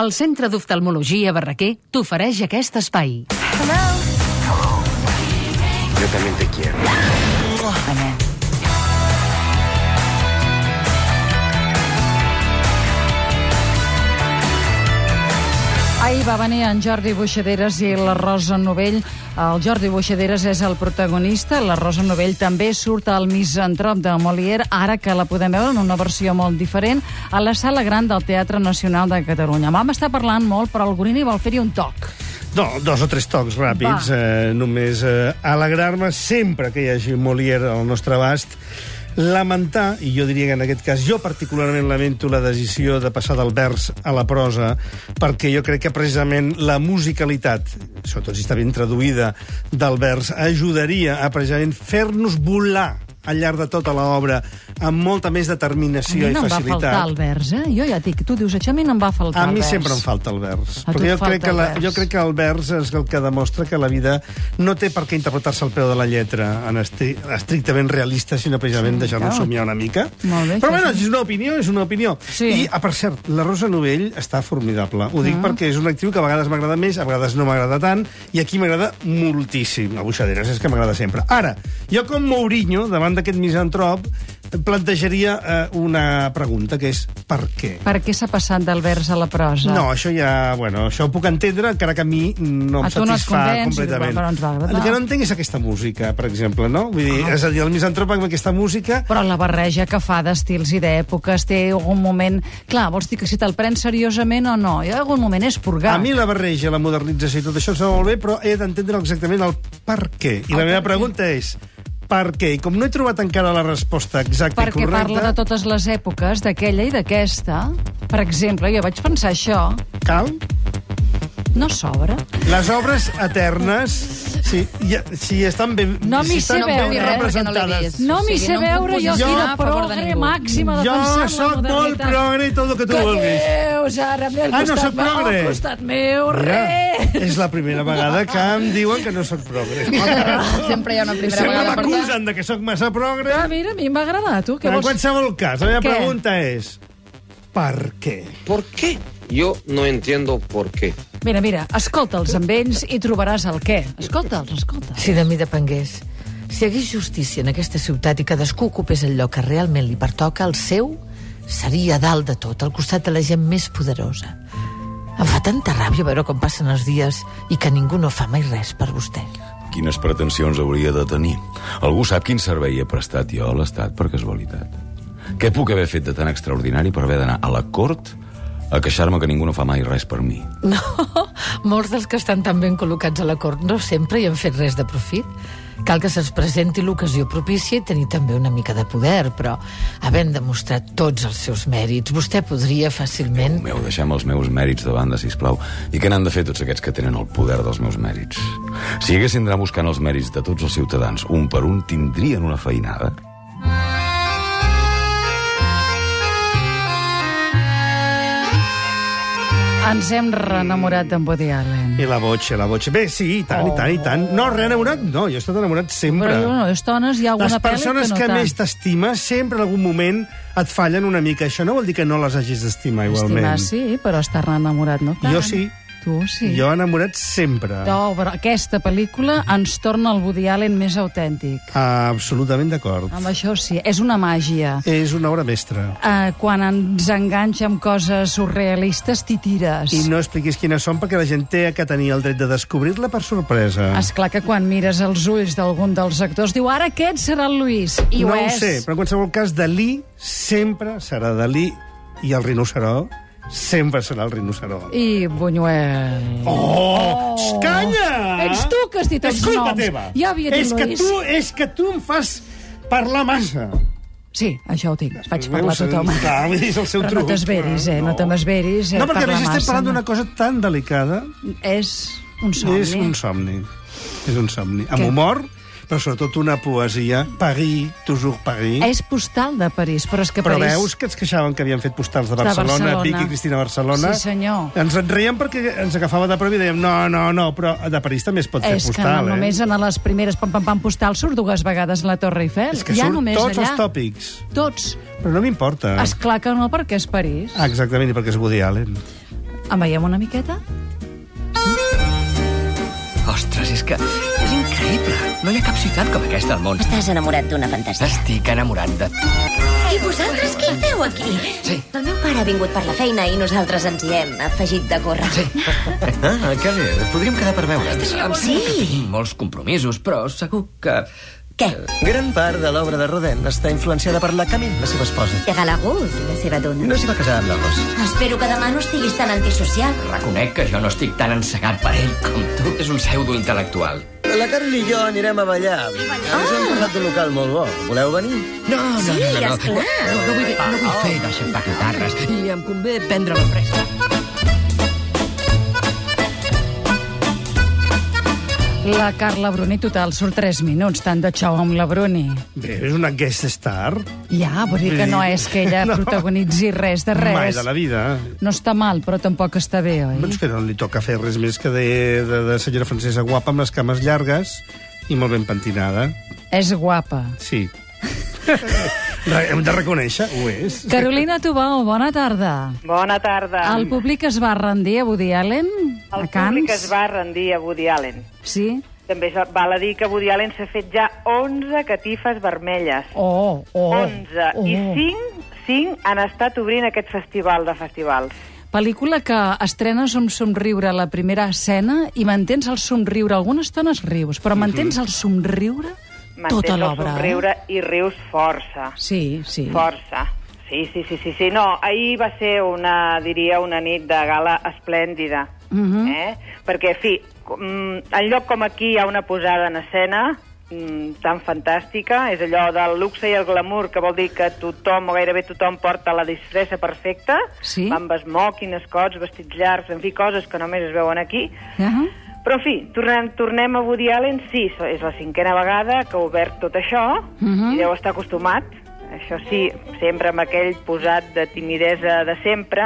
El Centre d'Oftalmologia Barraquer t'ofereix aquest espai. Yo también te quiero. Ahir va venir en Jordi Boixaderes i la Rosa Novell. El Jordi Boixaderes és el protagonista, la Rosa Novell també surt al misantrop de Molière, ara que la podem veure en una versió molt diferent, a la sala gran del Teatre Nacional de Catalunya. Vam estar parlant molt, però el Gorini vol fer-hi un toc. No, dos o tres tocs ràpids, Va. eh, només eh, alegrar-me sempre que hi hagi Molière al nostre abast, lamentar, i jo diria que en aquest cas jo particularment lamento la decisió de passar del vers a la prosa, perquè jo crec que precisament la musicalitat, sobretot si està ben traduïda, del vers ajudaria a precisament fer-nos volar al llarg de tota l'obra amb molta més a mi determinació i no em va facilitat. faltar el vers, eh? Jo ja et dic, tu dius, això a mi no em va faltar A el mi vers. sempre em falta el vers. A tu Perquè et jo crec, falta que el la, vers. jo crec que el vers és el que demostra que la vida no té per què interpretar-se al peu de la lletra en estri estrictament realista, sinó precisament sí, deixar-nos clar. somiar una mica. Molt bé, això Però bueno, sí. és una opinió, és una opinió. Sí. I, ah, per cert, la Rosa Novell està formidable. Ho Ah. dic perquè és una actriu que a vegades m'agrada més, a vegades no m'agrada tant, i aquí m'agrada moltíssim. A Buixaderes és que m'agrada sempre. Ara, jo com Mourinho, davant d'aquest misantrop, plantejaria eh, una pregunta, que és per què? Per què s'ha passat del vers a la prosa? No, això ja... Bueno, això ho puc entendre, encara que a mi no em A tu no et satisfà convenç, completament. però ens va agradar. Ah. El que no entenc és aquesta música, per exemple, no? Vull dir, és a dir, el misantrop amb aquesta música... Però la barreja que fa d'estils i d'èpoques té algun moment... Clar, vols dir que si te'l prens seriosament o no? Hi ha algun moment és purgar. A mi la barreja, la modernització i tot això em sembla molt bé, però he d'entendre exactament el per què. I la meva pregunta és per què? I com no he trobat encara la resposta exacta Perquè i correcta... parla de totes les èpoques, d'aquella i d'aquesta. Per exemple, jo vaig pensar això, Cal? no s'obre. Les obres eternes, si, ja, si estan ben, No m'hi si estan sé ben veure, eh, perquè no l'he representades... vist. No O m'hi sigui, sé no em puc veure jo posicionar quina a favor de progre ningú. màxima Jo defensant sóc la molt modernitat. progre i tot el que tu vulguis. Veus, ara, ve al Ah, no costat, sóc progre. Al costat meu, res. Mira, és la primera vegada que em diuen que no sóc progre. Sempre hi ha una primera Sempre vegada. per tant, m'acusen de que sóc massa progre. Ah, mira, a mi em va agradar, tu. Què Però en vols? qualsevol cas, la meva Què? pregunta és... Per què? ¿Por qué? Yo no entiendo por qué. Mira, mira, escolta'ls amb ells i trobaràs el què. Escolta'ls, escolta. Si de mi depengués, si hi hagués justícia en aquesta ciutat i cadascú ocupés el lloc que realment li pertoca, el seu seria a dalt de tot, al costat de la gent més poderosa. Em fa tanta ràbia veure com passen els dies i que ningú no fa mai res per vostè. Quines pretensions hauria de tenir? Algú sap quin servei he prestat jo a l'Estat per casualitat? Què puc haver fet de tan extraordinari per haver d'anar a la cort a queixar-me que ningú no fa mai res per mi? No, molts dels que estan tan ben col·locats a la cort no sempre hi han fet res de profit. Cal que se'ls presenti l'ocasió propícia i tenir també una mica de poder, però havent demostrat tots els seus mèrits, vostè podria fàcilment... Déu meu, deixem els meus mèrits de banda, sisplau. I què n'han de fer tots aquests que tenen el poder dels meus mèrits? Si haguessin d'anar buscant els mèrits de tots els ciutadans, un per un, tindrien una feinada? Ens hem reenamorat d'en Woody Allen. I la botxa, la botxa. Bé, sí, i tant, i tant, i tant. No, re enamorat, no, jo he estat enamorat sempre. Però jo no, les dones hi ha alguna Les pel·li persones que no que tant. més t'estimes sempre en algun moment et fallen una mica. Això no vol dir que no les hagis d'estimar igualment. Estimar, sí, però estar enamorat no tant. Jo sí. Tu sí. Jo enamorat sempre. No, però aquesta pel·lícula ens torna el Woody Allen més autèntic. Absolutament d'acord. Amb això sí, és una màgia. És una obra mestra. Uh, quan ens enganxa amb coses surrealistes, t'hi tires. I no expliquis quines són perquè la gent té que tenir el dret de descobrir-la per sorpresa. Esclar que quan mires els ulls d'algun dels actors diu ara aquest serà el Luis. I no ho ho és. sé, però en qualsevol cas, Dalí sempre serà Dalí i el rinoceró sempre serà el rinoceró. I Buñuel. Oh! Xx, Calla! Ets tu que has dit els és culpa noms. Teva. Ja havia dit és que Luis. tu, és que tu em fas parlar massa. Sí, això ho tinc. Vaig parlar a Veus? tothom. Clar, és el seu Però no truc. t'esveris, eh? No, te m'esveris. Eh? No, perquè a Parla més estem massa, parlant no. d'una cosa tan delicada. És un somni. És un somni. És un somni. Amb Què? humor, però sobretot una poesia. Paris, toujours Paris. És postal de París, però és que Però París... veus que ens queixaven que havien fet postals de Barcelona, Barcelona. Vic i Cristina Barcelona. Sí, senyor. Ens en reiem perquè ens agafava de prop i dèiem no, no, no, però de París també es pot fer és que postal, no, eh? només en les primeres pam, pam, pam postal surt dues vegades la Torre Eiffel. És que ja surt només tots allà. els Ah. tòpics. Tots. Però no m'importa. Esclar que no, perquè és París. Ah. Exactament, i perquè és Woody Allen. En veiem una miqueta? Ostres, és que és increïble. No hi ha cap ciutat com aquesta al món. Estàs enamorat d'una fantasia. Estic enamorat de... I vosaltres què hi feu aquí? Sí. El meu pare ha vingut per la feina i nosaltres ens hi hem afegit de córrer. Sí. Ah, que bé. Podríem quedar per veure'ns. Em Sí. sembla que tinc molts compromisos, però segur que... Què? Gran part de l'obra de Rodin està influenciada per la Camille, la seva esposa. Té Galagús i la seva dona. No s'hi va casar amb la Rose. Espero que demà no estiguis tan antisocial. Reconec que jo no estic tan encegat per ell com tu. És un pseudo-intel·lectual. La Carly i jo anirem a ballar. Ens Ah! hem parlat d'un local molt bo. Voleu venir? No, no, Sí, no, no, no. esclar. No, no, vull, no vull fer d'aixafar guitarres. I em convé prendre la fresca. La Carla Bruni, total, surt 3 minuts, tant de xou amb la Bruni. Bé, és una guest star. Ja, vull dir que no és que ella No. protagonitzi res de res. Mai de la vida. No està mal, però tampoc està bé, oi? Doncs que no li toca fer res més que de, de, de senyora francesa guapa amb les cames llargues i molt ben pentinada. És guapa. Sí. Re- Hem de reconèixer, ho és. Carolina Tubau, bona tarda. Bona tarda. El públic es va rendir a Woody Allen, a El Cannes? públic es va rendir a Woody Allen. Sí? També es- val a dir que Woody Allen s'ha fet ja 11 catifes vermelles. Oh, oh. 11. oh. I 5, 5 han estat obrint aquest festival de festivals. Pel·lícula que estrenes un somriure a la primera escena i mantens el somriure. Alguna estona es rius, però mantens el somriure tota el l'obra. somriure i rius força. Eh? Sí, sí. Força. Sí, sí, sí, sí, sí. No, ahir va ser una, diria, una nit de gala esplèndida. Mhm. eh? Perquè, fi, com, en lloc com aquí hi ha una posada en escena mm, tan fantàstica, és allò del luxe i el glamour, que vol dir que tothom, o gairebé tothom, porta la disfressa perfecta, Sí. amb smoking, escots, vestits llargs, en fi, coses que només es veuen aquí. Uh -huh. Però, en fi, tornem, tornem a Woody Allen, sí, so- és la cinquena vegada que ha obert tot això, Mhm. i deu estar acostumat, això sí, sempre amb aquell posat de timidesa de sempre.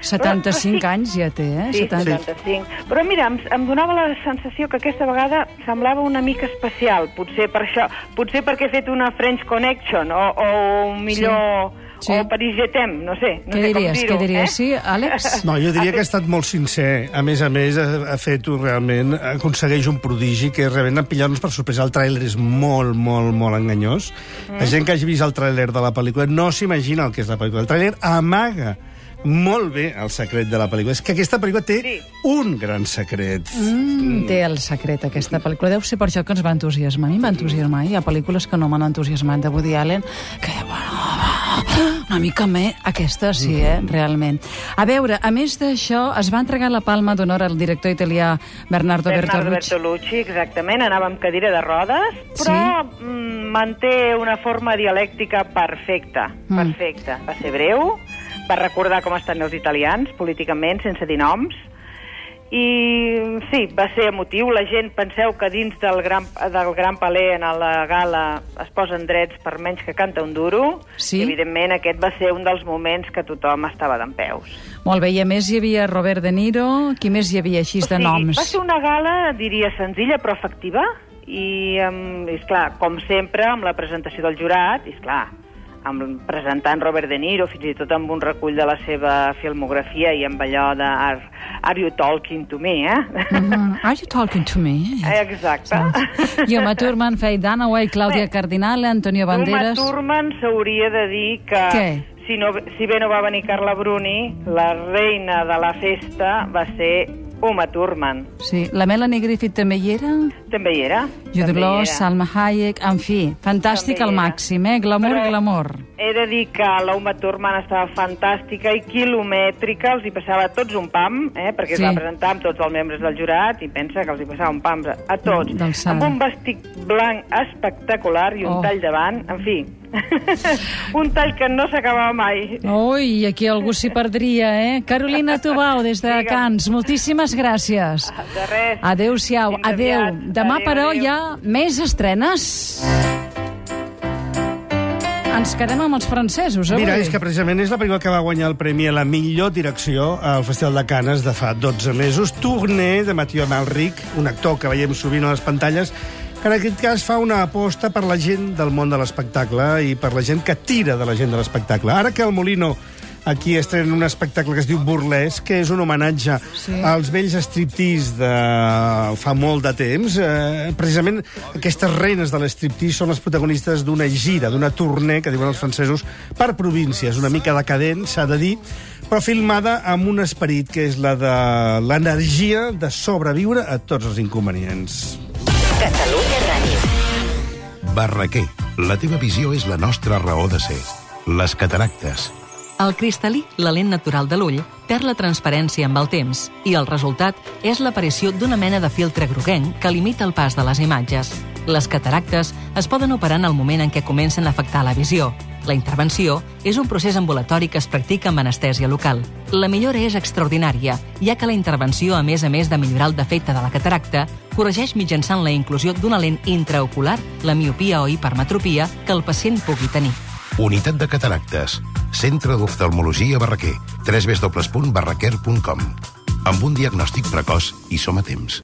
Però, 75 però sí, anys ja té, eh? Sí, 75. Però mira, em, em donava la sensació que aquesta vegada semblava una mica especial, potser per això, potser perquè he fet una French Connection o, o un millor... Sí. O Paris Jetem, no sé. No Què sé diries? com dir-ho, Què diries? Eh? Sí, Àlex? No, jo diria que ha estat molt sincer. A més a més, ha, ha fet un- realment, aconsegueix un prodigi que és realment empillar-nos per sorpresa. El tràiler és molt, molt, molt enganyós. La gent que hagi vist el tràiler de la pel·lícula no s'imagina el que és la pel·lícula. El tràiler amaga molt bé el secret de la pel·lícula. És que aquesta pel·lícula té Sí. un gran secret. Mm, té el secret aquesta pel·lícula. Deu ser per això que ens va entusiasmar. A mi em va entusiasmar. Hi ha pel·lícules que no m'han entusiasmat de Woody Allen que, bueno, va, una mica més. Aquesta sí, eh? Realment. A veure, a més d'això, es va entregar la palma d'honor al director italià Bernardo, Bernardo Bertolucci. Bertolucci, exactament, anava amb cadira de rodes, però Sí. mm, manté una forma dialèctica perfecta, Mm. perfecta. Va ser breu, va recordar com estan els italians políticament, sense dir noms, i sí, va ser emotiu. La gent, penseu que dins del Gran, del gran Paler, en la gala, es posen drets per menys que canta un duro, Sí. i evidentment aquest va ser un dels moments que tothom estava d'en peus. Molt bé, i a més hi havia Robert De Niro. Qui més hi havia així de noms? Va ser una gala, diria, senzilla però efectiva i, um, és clar, com sempre, amb la presentació del jurat, és clar, amb presentant Robert De Niro, fins i tot amb un recull de la seva filmografia i amb allò de Are, are you talking to me, eh? Mhm. Are you talking to me? Exacte. Yoma Thurman, Faye Dunaway, Clàudia Bé. Cardinal, Antonio Banderas... Uma Thurman s'hauria de dir que... Què? Si, no, si bé no va venir Carla Bruni, la reina de la festa va ser Uma Thurman. Sí, la Melanie Griffith també hi era, També hi era. Jude també hi Law, era. Salma Hayek, en fi, fantàstic També al hi era. màxim, eh? Glamour, Però- glamour. He de dir que l'Uma Thurman estava fantàstica i quilomètrica, els hi passava a tots un pam, eh, Sí. perquè es va presentar amb tots els membres del jurat i pensa que els hi passava un pam a, a tots. D'alçada. Amb un vestit blanc espectacular i un Oh. tall davant, en fi, un tall que no s'acabava mai. Ui, aquí algú s'hi perdria, eh? Carolina Tubau, des de Digue'm. Cans, moltíssimes gràcies. De res. Adéu-siau, Fins adéu. aviat. Demà, Adéu, però, adéu. hi ha més estrenes. Ens quedem amb els francesos, avui. Mira, és que precisament és la pel·lícula que va guanyar el premi a la millor direcció al Festival de Canes de fa 12 mesos. Tourné, de Mathieu Malric, un actor que veiem sovint a les pantalles, que en aquest cas fa una aposta per la gent del món de l'espectacle i per la gent que tira de la gent de l'espectacle. Ara que el Molino Aquí estrenen un espectacle que es diu Burlesc, que és un homenatge sí. als vells striptease de fa molt de temps. Eh, precisament aquestes reines de l'estriptease són les protagonistes d'una gira, d'una tournée, que diuen els francesos, per províncies, una mica decadent, s'ha de dir, però filmada amb un esperit que és la de l'energia de sobreviure a tots els inconvenients. Catalunya Ràdio. Barraquer, la teva visió és la nostra raó de ser. Les cataractes. Al cristal·lí, la lent natural de l'ull perd la transparència amb el temps i el resultat és l'aparició d'una mena de filtre groguenc que limita el pas de les imatges. Les cataractes es poden operar en el moment en què comencen a afectar la visió. La intervenció és un procés ambulatori que es practica amb anestèsia local. La millora és extraordinària, ja que la intervenció, a més a més de millorar el defecte de la cataracta, corregeix mitjançant la inclusió d'una lent intraocular, la miopia o hipermetropia, que el pacient pugui tenir. Unitat de cataractes. Centre d'oftalmologia Barraquer. www.barraquer.com Amb un diagnòstic precoç i som a temps.